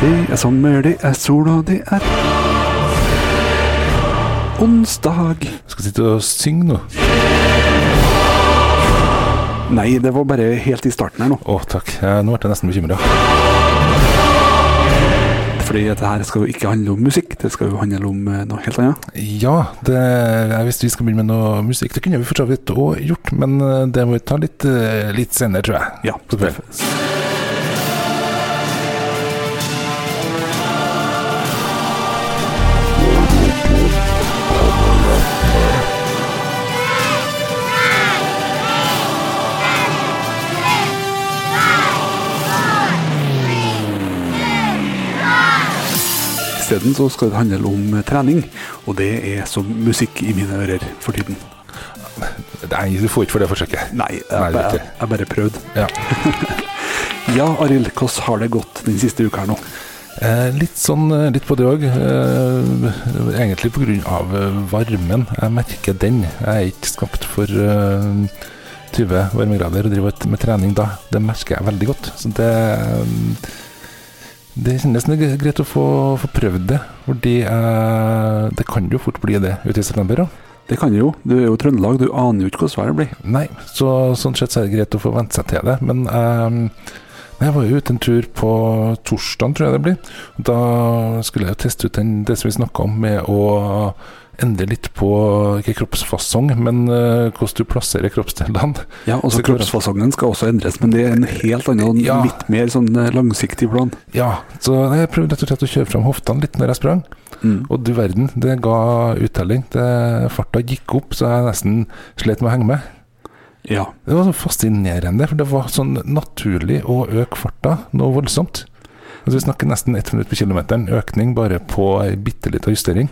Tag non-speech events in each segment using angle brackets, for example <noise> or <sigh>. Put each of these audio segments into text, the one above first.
Det er sommer, det er sol, og det er onsdag. Skal sitte og synge nå. Å, Nei, det var bare helt i starten her nå. takk. Eh, Nå ble jeg nesten bekymra. Fordi dette her skal jo ikke handle om musikk, det skal jo handle om eh, noe helt annet. Ja, det, jeg visste vi skulle begynne med noe musikk. Det kunne vi for så vidt òg gjort, men eh, det må vi ta litt, eh, litt senere, tror jeg. Ja, På kvelden. Isteden så skal det handle om eh, trening, og det er som musikk i mine ører for tiden. Nei, du får ikke for det forsøket. Nei, jeg, Nei, det er bare- ikke. jeg bare prøvde. Ja. <laughs> Ja, Arild, hvordan har det gått den siste uka her nå? Eh, litt sånn eh, litt på det òg. Eh, egentlig pga. eh, varmen. Jeg merker den. Jeg er ikke skapt for eh, 20 varmegrader og driver med trening da. Det merker jeg veldig godt. Så det eh, Det kjennes noe greit å få, få prøvd det. Fordi eh, det kan jo fort bli det ute i september òg. Det kan jo. Du er jo i Trøndelag, du aner jo ikke hvordan været blir. Nei, så sånn sett så er det greit å få vente seg til det. Men ehm, jeg var jo ute en tur på torsdagen, tror jeg det blir. Og Da skulle jeg jo teste ut den, det som vi snakka om, med å endre litt på ikke kroppsfasong, men eh, hvordan du plasserer kroppsdelene. <laughs> Ja, altså Det går an. Kroppsfasongen skal også endres, men det er en helt annen, Ja. litt mer sånn eh, langsiktig plan. Ja, så jeg prøvde rett og slett å kjøre fram hoftene litt når jeg sprang. Mm. Og du verden, det ga uttelling. Det, farta gikk opp, så jeg nesten slet med å henge med. Ja. Det var så fascinerende, for det var sånn naturlig å øke farta noe voldsomt. Altså Vi snakker nesten ett minutt på kilometeren, økning bare på ei bitte lita justering.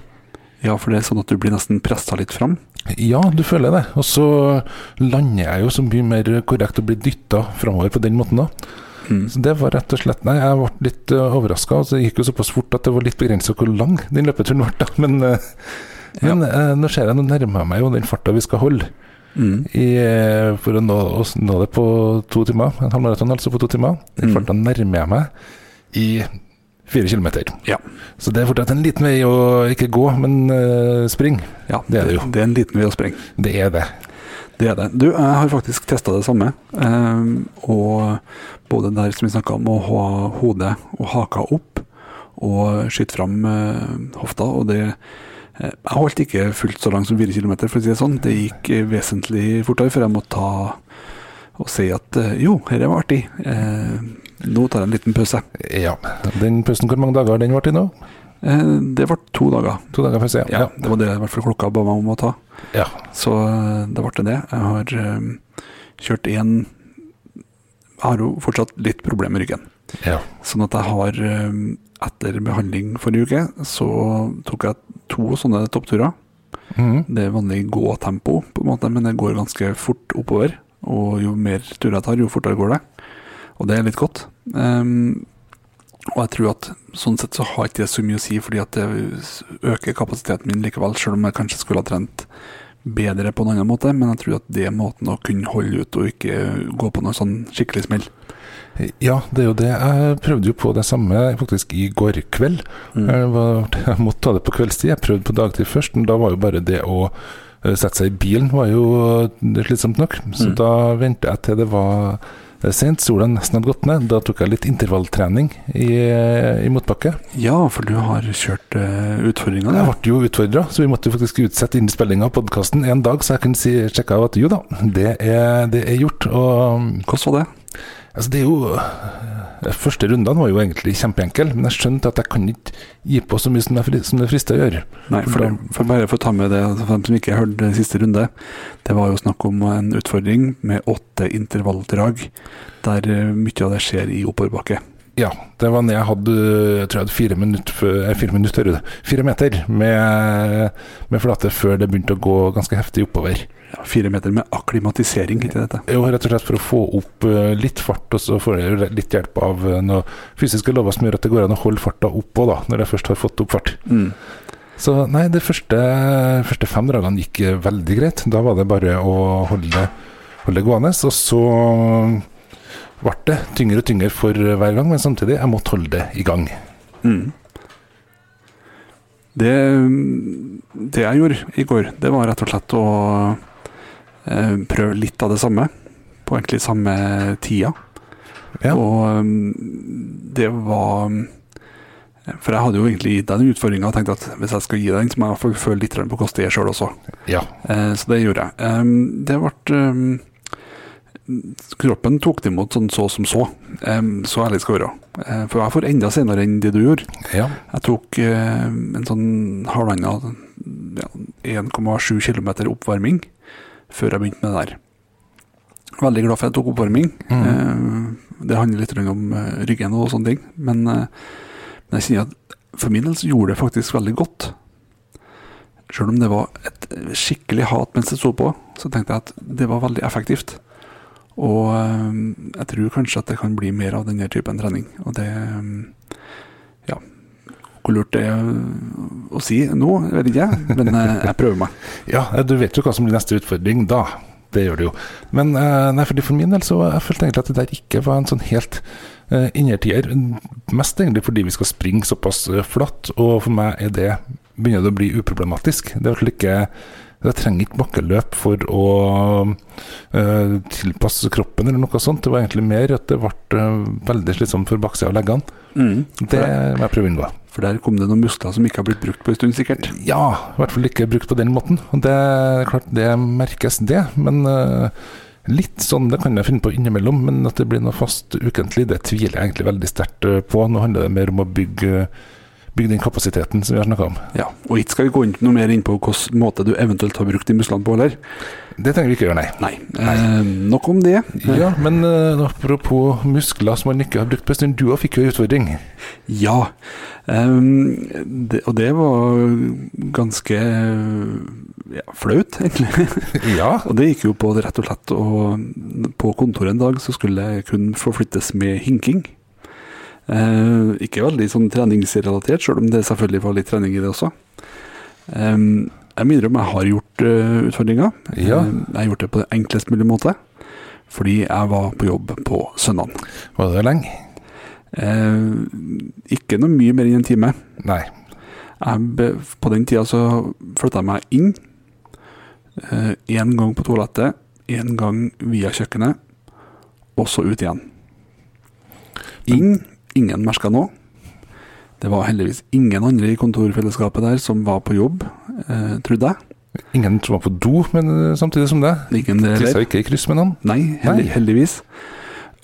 ja, for det er sånn at du blir nesten pressa litt fram. Ja, du føler det. Og så lander jeg jo så mye mer korrekt og blir dytta framover på den måten da. Mm. Så det var rett og slett Nei, jeg ble litt overraska. Altså, det gikk jo såpass fort at det var litt begrensa hvor lang den løpeturen ble, da. Men, eh, men eh, nå ser jeg, nå nærmer jeg meg jo den farta vi skal holde. Mm. i, eh, for å nå, å nå det på to timer. En halvmaraton altså på to timer. Den Mm. farta nærmer jeg meg i fire kilometer. Ja. Så det er fortsatt en liten vei å ikke gå, men eh, spring. ja. Det er det jo. Det er en liten vei å sprenge. Det er det. Det er det. Du, jeg har faktisk testa det samme. ehm, og både der som vi snakka om å ha hodet og haka opp og skyte fram eh, hofta, og det eh, Jeg holdt ikke fullt så langt som fire kilometer, for å si det sånn. Det gikk eh, vesentlig fortere før jeg måtte ta og si at eh, jo, dette var artig. Eh, nå tar jeg en liten pause. Ja. Den pausen, hvor mange dager har den vart i nå? Eh, det ble to dager. To dager, får jeg si. Ja, Det var det i hvert fall klokka ba meg om å ta. ja. Så eh, det ble det. Jeg har eh, kjørt én Jeg har jo fortsatt litt problemer med ryggen. ja. Sånn at jeg har eh, Etter behandling forrige uke så tok jeg to sånne toppturer. Mhm. Det er vanlig gåtempo, på en måte, men det går ganske fort oppover. Og jo mer turer jeg tar, jo fortere går det. Og det er litt godt. Ehm, og jeg tror at sånn sett så har ikke det så mye å si, fordi at det øker kapasiteten min likevel, selv om jeg kanskje skulle ha trent bedre på en annen måte. Men jeg tror at det er måten å kunne holde ut og ikke gå på noe sånn skikkelig smell. Ja, det er jo det. Jeg prøvde jo på det samme faktisk i går kveld. Mm. Jeg, var, Eh, <laughs> jeg måtte ta det på kveldstid. Jeg prøvde på dagtid først, men da var jo bare det å eh, sette seg i bilen var jo eh, slitsomt nok. Så Mm. da venta jeg til det var eh, sent, sola nesten hadde gått ned. Da tok jeg litt intervalltrening i, eh, i motbakke. Ja, for du har kjørt uh, utfordringa, Jeg du. ble jo utfordra, så vi måtte jo faktisk utsette innspillinga av podkasten en dag, så jeg kunne si, sjekke av at jo da, det er, det er gjort. Og mm, Hvordan var det? Altså, det er jo de Første rundene var jo egentlig kjempeenkel, men jeg skjønte at jeg kan ikke gi på så mye som det, fri- som det frister å gjøre. Nei, for, det, for bare for å ta med det for dem som ikke har hørt det siste runde. Det var jo snakk om en utfordring med åtte intervalldrag, der eh, mye av det skjer i oppoverbakke. Ja, det var når jeg hadde jeg tror jeg hadde fire minutter, før- eh, fire, minutter hører du, fire meter med, med flate før det begynte å gå ganske heftig oppover. Ja, fire meter med akklimatisering, ikke dette? Jo, rett og slett for å få opp eh, litt fart, og så får jeg jo litt hjelp av eh, noen fysiske lover som gjør at det går an å holde farta oppå, da, når jeg først har fått opp fart. Så nei, de første, første fem dragene gikk eh, veldig greit. Da var det bare å holde, holde gående. Og så eh, ble det tyngre og tyngre for hver gang, men samtidig, jeg måtte holde det i gang. Mm. Det, det jeg gjorde i går, det var rett og slett å eh, prøve litt av det samme. På egentlig samme tida. Ja. Og mm, det var mm, For jeg hadde jo egentlig gitt deg den utfordringa og tenkt at hvis jeg skal gi deg den, så må jeg i hvert fall føle litt grann på hvordan det er sjøl også. Ja. Eh, Så det gjorde jeg. Em, Det ble em, Kroppen tok det imot sånn så som så, Em, så ærlig skal jeg være. Eh, For jeg får enda senere enn det du gjorde. ja. Jeg tok eh, en sånn halvannen ja, 1,7 km oppvarming før jeg begynte med det der. Veldig glad for at jeg tok oppvarming. Mm. Eh, Det handler litt grann om eh, ryggen og sånne ting. Men, eh, men jeg kjenner at for min del så gjorde det faktisk veldig godt. Selv om det var et skikkelig hat mens jeg sto på, så tenkte jeg at det var veldig effektivt. Og eh, jeg tror kanskje at det kan bli mer av denne typen trening. Og det eh, Ja. Hvor lurt det er å si nå, vet ikke jeg, men eh, jeg prøver meg. Ja, eh, du vet jo hva som blir neste utfordring da. Det gjør du jo. Men eh, nei, fordi for min del så jeg følte egentlig at det der ikke var en sånn helt eh, innertier. Mest egentlig fordi vi skal springe såpass eh, flatt, og for meg er det begynner det å bli uproblematisk. Det er i hvert fall ikke jeg trenger ikke bakkeløp for å eh, tilpasse kroppen eller noe sånt. Det var egentlig mer at det ble eh, veldig slitsomt for baksida av leggene. For Det må jeg prøve å unngå. For der kom det noen muskler som ikke har blitt brukt på en stund, sikkert. Ja, i hvert fall ikke brukt på den måten. Og det er klart det merkes, det. Men eh, litt sånn, det kan jeg finne på innimellom. Men at det blir noe fast ukentlig, det tviler jeg egentlig veldig sterkt eh, på. Nå handler det mer om å bygge, bygge den kapasiteten som vi har snakka om. Ja, Og ikke skal vi gå inn noe mer inn på hvilken måte du eventuelt har brukt de musklene på, heller. Det trenger vi ikke gjøre, nei. Nei. Eh, nok om det. Ja, Men eh, apropos muskler som man ikke har brukt på en stund. Du òg fikk jo en utfordring. Ja. Ehm, det, og det var ganske eh, ja, flaut, egentlig. Ja. Og det gikk jo på rett og slett og På kontoret en dag så skulle jeg kun forflyttes med hinking. Eh, ikke veldig sånn treningsrelatert, selv om det selvfølgelig var litt trening i det også. Eh, jeg må innrømme jeg har gjort eh, utfordringa. Ja. Eh, jeg har gjort det på enklest mulig måte. Fordi jeg var på jobb på søndagen. Var det lenge? Eh, ikke noe mye mer enn en time. Nei. Jeg be, på den tida så flytta jeg meg inn. Én gang på toalettet, én gang via kjøkkenet, og så ut igjen. Inn, ingen merka noe. Det var heldigvis ingen andre i kontorfellesskapet der som var på jobb, eh, trodde jeg. Ingen som var på do men, eh, samtidig som det. Ingen det heller. Tissa ikke i kryss med noen. Nei, heldig, Nei. heldigvis.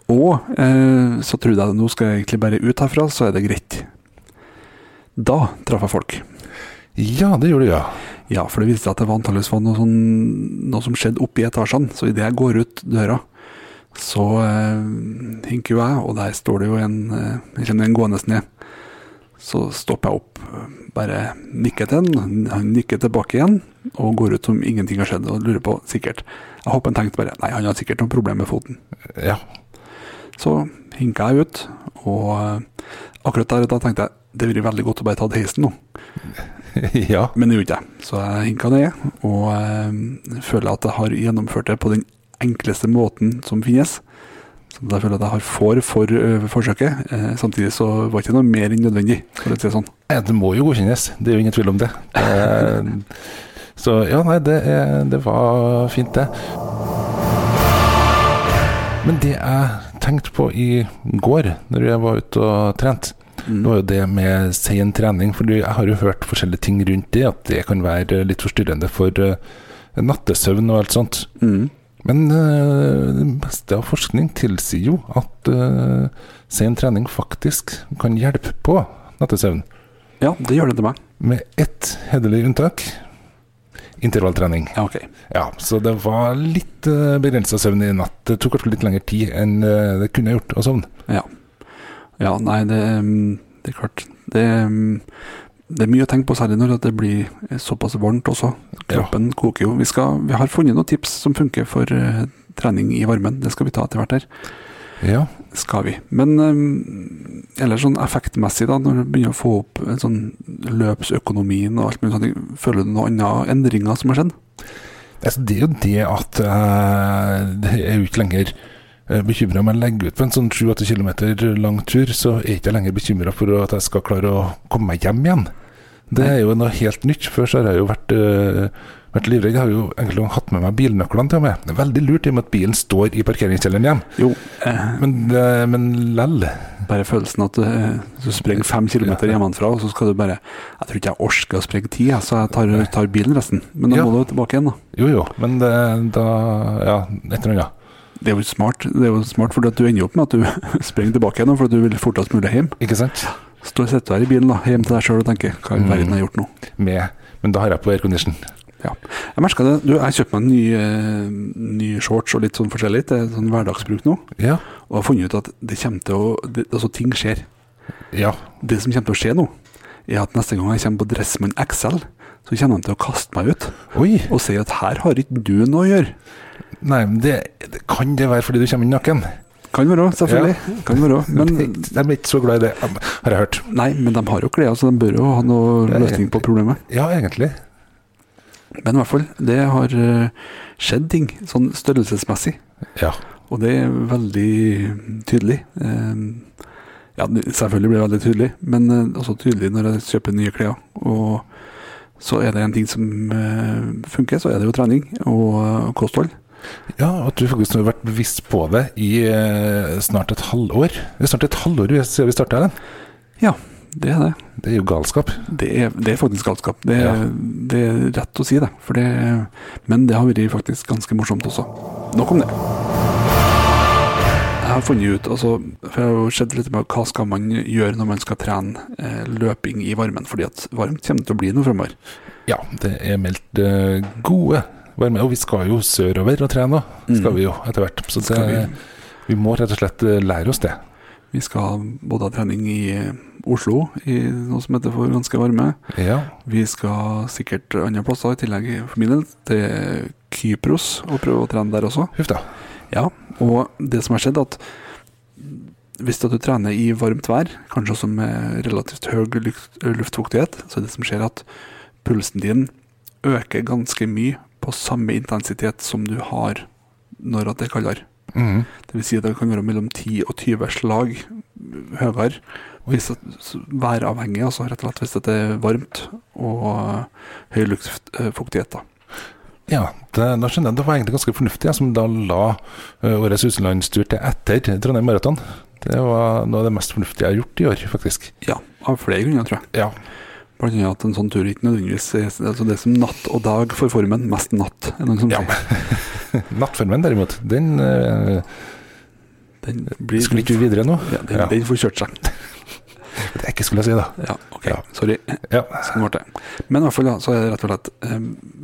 Og eh, så trodde jeg at nå skal jeg egentlig bare ut herfra, så er det greit. Da traff jeg folk. Ja, det gjorde du, ja. Ja, for det viste seg at det var antageligvis var noe, sånn, noe som skjedde oppe i etasjene. Så idet jeg går ut døra, så eh, hinker jo jeg, og der står det jo en eh, Jeg kjenner en gående ned. Så stopper jeg opp, bare nikker til han, han nikker tilbake igjen, og går ut som ingenting har skjedd, og lurer på sikkert Jeg håper han tenkte bare Nei, han har sikkert noe problem med foten. Ja. Så hinka jeg ut, og eh, akkurat der og da tenkte jeg det ville vært veldig godt å bare ta heisen nå. <laughs> ja. Men det gjorde ikke jeg. Så jeg hinka ned, og eh, føler at jeg har gjennomført det på den enkleste måten som finnes. Så jeg føler at jeg har får for ø, forsøket. Eh, samtidig så var det ikke noe mer enn nødvendig, for å si det sånn. Ja, Det må jo godkjennes, det er jo ingen tvil om det. Eh, Så ja, nei, det, er, det var fint, det. Men det jeg tenkte på i går, når jeg var ute og trente, Mm. det var jo det med sen trening. For jeg har jo hørt forskjellige ting rundt det, at det kan være litt forstyrrende for eh, nattesøvn og alt sånt. Mm. Men eh, det meste av forskning tilsier jo at eh, sen trening faktisk kan hjelpe på nattesøvn. Ja, det gjør det til meg. Med ett hederlig unntak. Intervalltrening. Ja, ok. Ja, så det var litt uh, begrensa søvn i natt. Det tok kanskje litt lengre tid enn eh, det kunne gjort å sovne. Ja, ja nei, det, mm, det er klart. Det, mm, det er mye å tenke på, særlig når at det blir såpass varmt også. Kroppen koker jo. Vi, skal, vi har funnet noen tips som funker for eh, trening i varmen. Det skal vi ta etter hvert her. Ja. skal vi. Men um, ellers sånn effektmessig, da, når du begynner å få opp en sånn løpsøkonomien og alt mulig sånt, føler du noen andre endringer som har skjedd? Altså, det er jo det at eh, det er jo ikke lenger bekymra om jeg legger ut på en sånn 7-8 km lang tur, så er jeg ikke lenger bekymra for at jeg skal klare å komme meg hjem igjen. Det er jo noe helt nytt. Før så har jeg jo vært, øh, vært livredd. Jeg har jo egentlig hatt med meg bilnøklene til og med. Det er veldig lurt i og med at bilen står i parkeringskjelleren hjem. Jo, eh, Men, øh, men lell. bare følelsen at eh, du sprenger fem kilometer hjemmefra, og så skal du bare Jeg tror ikke jeg orker å sprenge ti, jeg, så jeg tar, tar bilen resten. Men da Ja. må du tilbake igjen, da. Jo jo, men det, da Ja, et eller annet. Det er jo smart, det er jo smart fordi at du ender jo opp med at du <laughs> springer tilbake igjen, for at du vil fortest mulig hjem. Ikke sant? Står sitter her i bilen, da, hjem til deg sjøl og tenker hva i all verden har jeg gjort nå? Med Men da har jeg på aircondition. Ja. Jeg merka det. Du, jeg kjøpte meg en ny, eh, ny shorts og litt sånn forskjellig. Det er sånn hverdagsbruk nå. Ja. Og jeg har funnet ut at det kommer til å det, Altså, ting skjer. Ja. Det som kommer til å skje nå, er at neste gang jeg kommer på Dressmann XL, så kommer de til å kaste meg ut Oi! og si at her har ikke du noe å gjøre. Nei, men det, det kan det være fordi du kommer inn naken? Kan være, selvfølgelig. Kan være. <laughs> Men Men de er ikke så glad i det, har jeg hørt. Nei, men de har jo klær, så de bør jo ha noe Ja, løsning på problemet. Ja, egentlig. Men i hvert fall, det har eh, skjedd ting, sånn størrelsesmessig. Ja. Og det er veldig tydelig. Eh, Ja, det- selvfølgelig blir det veldig tydelig, men eh, også tydelig når jeg kjøper nye klær. Og så er det en ting som eh, funker, så er det jo trening og eh, kosthold. ja, at du faktisk har vært bevisst på det i eh, snart et halvår. Det er snart et halvår siden vi starta den. Det er det. Det er jo galskap. Det er, det er faktisk galskap. Det, er- Ja. det er rett å si det. For det. Men det har vært faktisk ganske morsomt også. Nok om det. Jeg har funnet ut, altså, for jeg har jo sett litt med hva skal man gjøre når man skal trene eh, løping i varmen, fordi at varmt kommer det til å bli noe fremover. Ja, det er meldt eh, gode varme. Og vi skal jo sørover og trene òg, Mm. skal vi jo etter hvert. Så det, Skal vi? vi- må rett og slett eh, lære oss det. Vi skal både ha trening i eh, Oslo, i noe som heter for ganske varme. Ja. Vi skal sikkert andre plasser i tillegg for min del til Kypros og prøve å trene der også. Huff da. Ja, og det som har skjedd at hvis at du trener i varmt vær, kanskje også med relativt høy luft, luftfuktighet, så er det som skjer at pulsen din øker ganske mye på samme intensitet som du har når at det er kaldere. Mhm. Det vil si at det kan være mellom 10 og 20 slag høyere. Hvis at, så væravhengig, altså rett og slett hvis det er varmt og høy luftfuktighet. Da. Ja, det, da skjønner jeg. Det var egentlig ganske fornuftig, jeg, som da la ø, årets utenlandstur til etter Trondheim Maraton. Det var noe av det mest fornuftige jeg har gjort i år, faktisk. Ja, av flere grunner, tror jeg. Ja, Blant annet at en sånn tur ikke nødvendigvis er altså det er som natt og dag for formen. Mest natt. Er det noen som Ja. sier. Nattformen, derimot, den ø, Den blir skulle ikke vi videre nå. ja, den, Ja. den får kjørt seg. Det er ikke skulle jeg si, da. Ja, ok. Ja. Sorry. Ja. Sånn ble det. Men i hvert fall da, så er det rett og slett eh,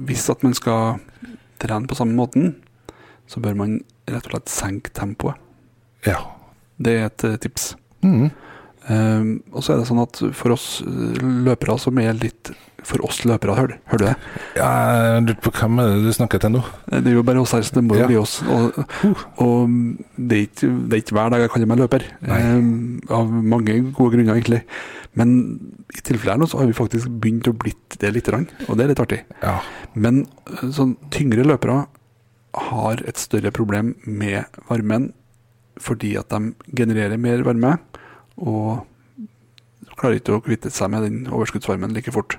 Hvis at man skal trene på samme måten, så bør man rett og slett senke tempoet. ja. Det er et eh, tips. Mhm. Eh, og så er det sånn at for oss eh, løpere som er litt For oss løpere, hører, hører du det? ja jeg lurte på hvem er det du snakker til nå? Det er jo bare oss her, så det må jo Ja. bli oss. Og, og det, er ikke, det er ikke hver dag jeg kaller meg løper, Nei. eh, av mange gode grunner, egentlig. Men i tilfellet her nå, så har vi faktisk begynt å blitt det lite grann, og det er litt artig. Ja. Men eh, sånn tyngre løpere har et større problem med varmen fordi at de genererer mer varme, og klarer ikke å kvitte seg med den overskuddsvarmen like fort.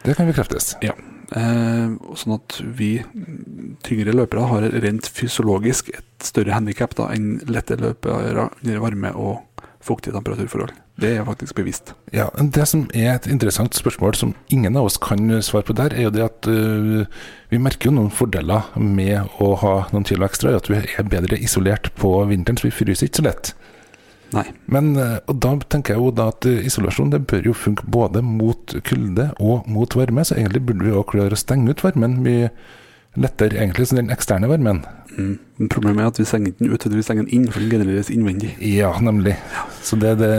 Det kan bekreftes. Eh, sånn at vi mm, tyngre løpere har rent fysiologisk et større handikap enn lette løpere under varme og fuktige temperaturforhold. Det er faktisk bevisst. Ja, men Det som er et interessant spørsmål som ingen av oss kan svare på der, er jo det at øh, vi merker jo noen fordeler med å ha noen kilo ekstra. At vi er bedre isolert på vinteren, så vi fryser ikke så lett. Nei. Men øh, og da tenker jeg jo da at øh, isolasjon det bør jo funke både mot kulde og mot varme. Så egentlig burde vi også klare å stenge ut varmen mye lettere, egentlig, som den eksterne varmen. Mm. Men problemet er at vi stenger den ut, vi stenger den inn, for den genereres innvendig. Ja, nemlig. Så det, det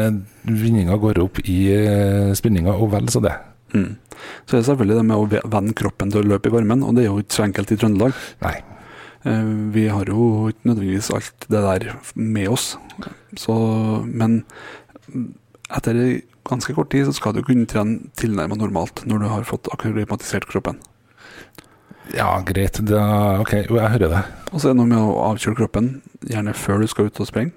vinninga går opp i øh, spinninga, og vel så det. Mm. Så er det selvfølgelig det med å ve- vende kroppen til å løpe i varmen, og det er jo ikke så enkelt i Trøndelag. Nei. Eh, Vi har jo ikke nødvendigvis alt det der med oss, så, men etter ganske kort tid så skal du kunne trene tilnærmet normalt når du har fått akklimatisert kroppen. Ja, greit. Da, ok, jo, jeg hører deg. Og så er det noe med å avkjøle kroppen, gjerne før du skal ut og sprenge.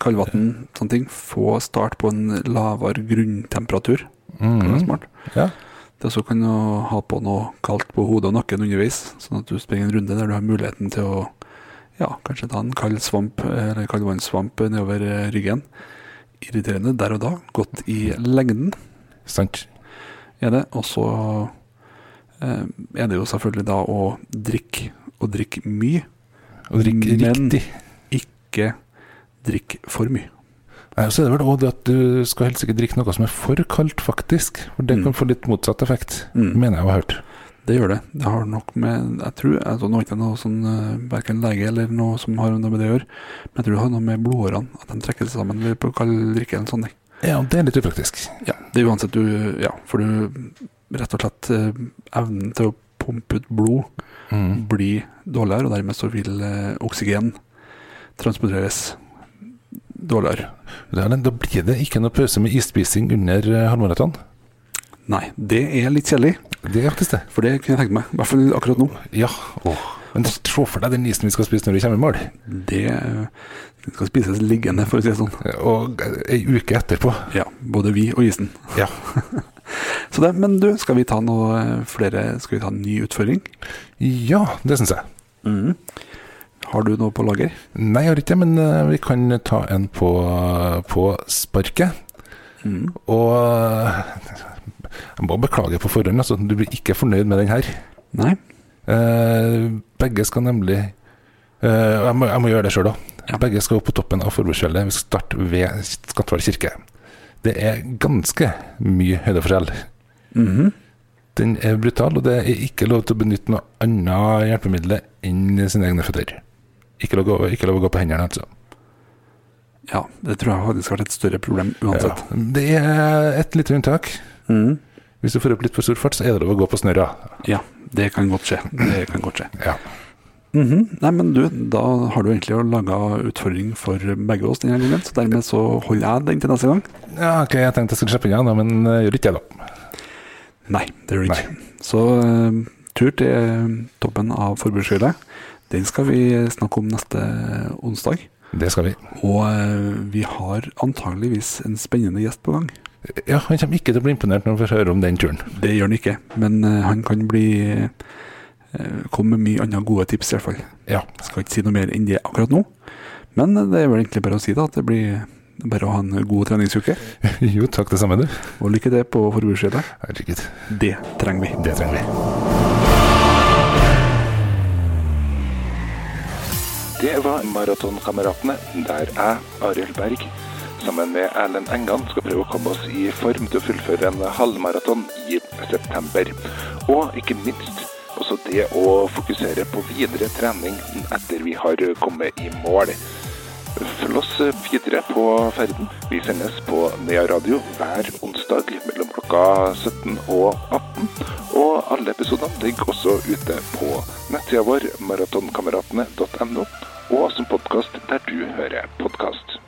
Kaldvann, sånne ting. Få start på en lavere grunntemperatur. Det er Mhm. smart. Ja. Det så kan du ha på noe kaldt på hodet og nakken underveis, sånn at du springer en runde der du har muligheten til å ja, kanskje ta en kald svamp eller kaldvannssvamp nedover eh, ryggen. Irriterende der og da. Godt i lengden Sant. er det. Og så eh, er det jo selvfølgelig da å drikke, og drikke mye. Og drikk Men- riktig. Ikke drikke for mye. Nei, og så er det vel også det at du skal helst ikke drikke noe som er for kaldt, faktisk. For det Mm. kan få litt motsatt effekt, Mm. mener jeg å ha hørt. Det gjør det. Det har nok med Jeg tror altså, Nå er ikke jeg noe sånn eh, verken lege eller noe som har noe med det å gjøre, men jeg tror det har noe med blodårene. At de trekker seg sammen ved på kald drikke eller sånn. Ja, og det er litt upraktisk. Ja, det er uansett du Ja, for du Rett og slett eh, evnen til å pumpe ut blod Mm. blir dårligere, og dermed så vil eh, oksygen transporteres dårligere. Da, er det- da blir det ikke noe pause med isspising under eh, halvmaraton. Nei, det er litt kjedelig, Det er faktisk det. for det kunne jeg tenke meg. I hvert fall akkurat nå. Ja. Men se for deg den isen vi skal spise når vi kommer i mål, Det eh, skal spises liggende, for å si det sånn. og eh, ei uke etterpå. Ja, både vi og isen. Ja. <laughs> Så det, men du, skal vi ta noe eh, flere Skal vi ta en ny utfordring? Ja, det syns jeg. Har du noe på lager? Nei, jeg har ikke det, men eh, vi kan ta en på, på sparket. Og eh, jeg må beklage på forhånd, altså. Du blir ikke fornøyd med den her. Nei? Eh, begge skal nemlig eh, jeg, må, jeg må gjøre det sjøl, da. Ja. Begge skal opp på toppen av Forbudfjellet. Vi skal starte ved Skatval kirke. Det er ganske mye høydeforskjell. Mhm. Den er brutal, og det er ikke lov til å benytte noe annet hjelpemiddel enn sine egne føtter. Ikke lov, å gå- ikke lov å gå på hendene, altså. Ja, det tror jeg faktisk har vært et større problem Ja. uansett. Det er et lite unntak. Mhm. Hvis du får opp litt for stor fart, så er det lov å gå på snørra. Ja, det kan godt skje. Det kan godt skje. Ja. Mhm. Nei, men du, da har du egentlig laga utfordring for begge oss denne gangen, så dermed så holder jeg den til neste gang. ja, ok, jeg tenkte jeg skulle slippe unna, men eh, gjør ikke det, da. Nei, det gjør det ikke. Så eh, tur til eh, toppen av Forbudshøyde. Den skal vi eh, snakke om neste onsdag. Det skal vi. Og eh, vi har antageligvis en spennende gjest på gang. Ja, han kommer ikke til å bli imponert når han får høre om den turen. Det gjør han ikke, men eh, han kan bli eh, komme med mye andre gode tips, i hvert fall. Ja. Jeg skal ikke si noe mer enn det akkurat nå. Men eh, det er vel egentlig bare å si da, at det blir bare å ha en god treningsuke. <laughs> Jo, takk det samme, du. Og lykke til på Forbudshøyde. Herregud, Det trenger vi. det trenger vi. Det var Maratonkameratene, der jeg, Arild Berg, sammen med Erlend Engan skal prøve å komme oss i form til å fullføre en halvmaraton i september. Og ikke minst også det å fokusere på videre trening etter vi har kommet i mål. Følg oss eh, videre på ferden. Vi sendes på Nea Radio hver onsdag mellom klokka 17 og 18. Og alle episodene ligger også ute på nettsida vår maratonkameratene.no, og som podkast der du hører podkast.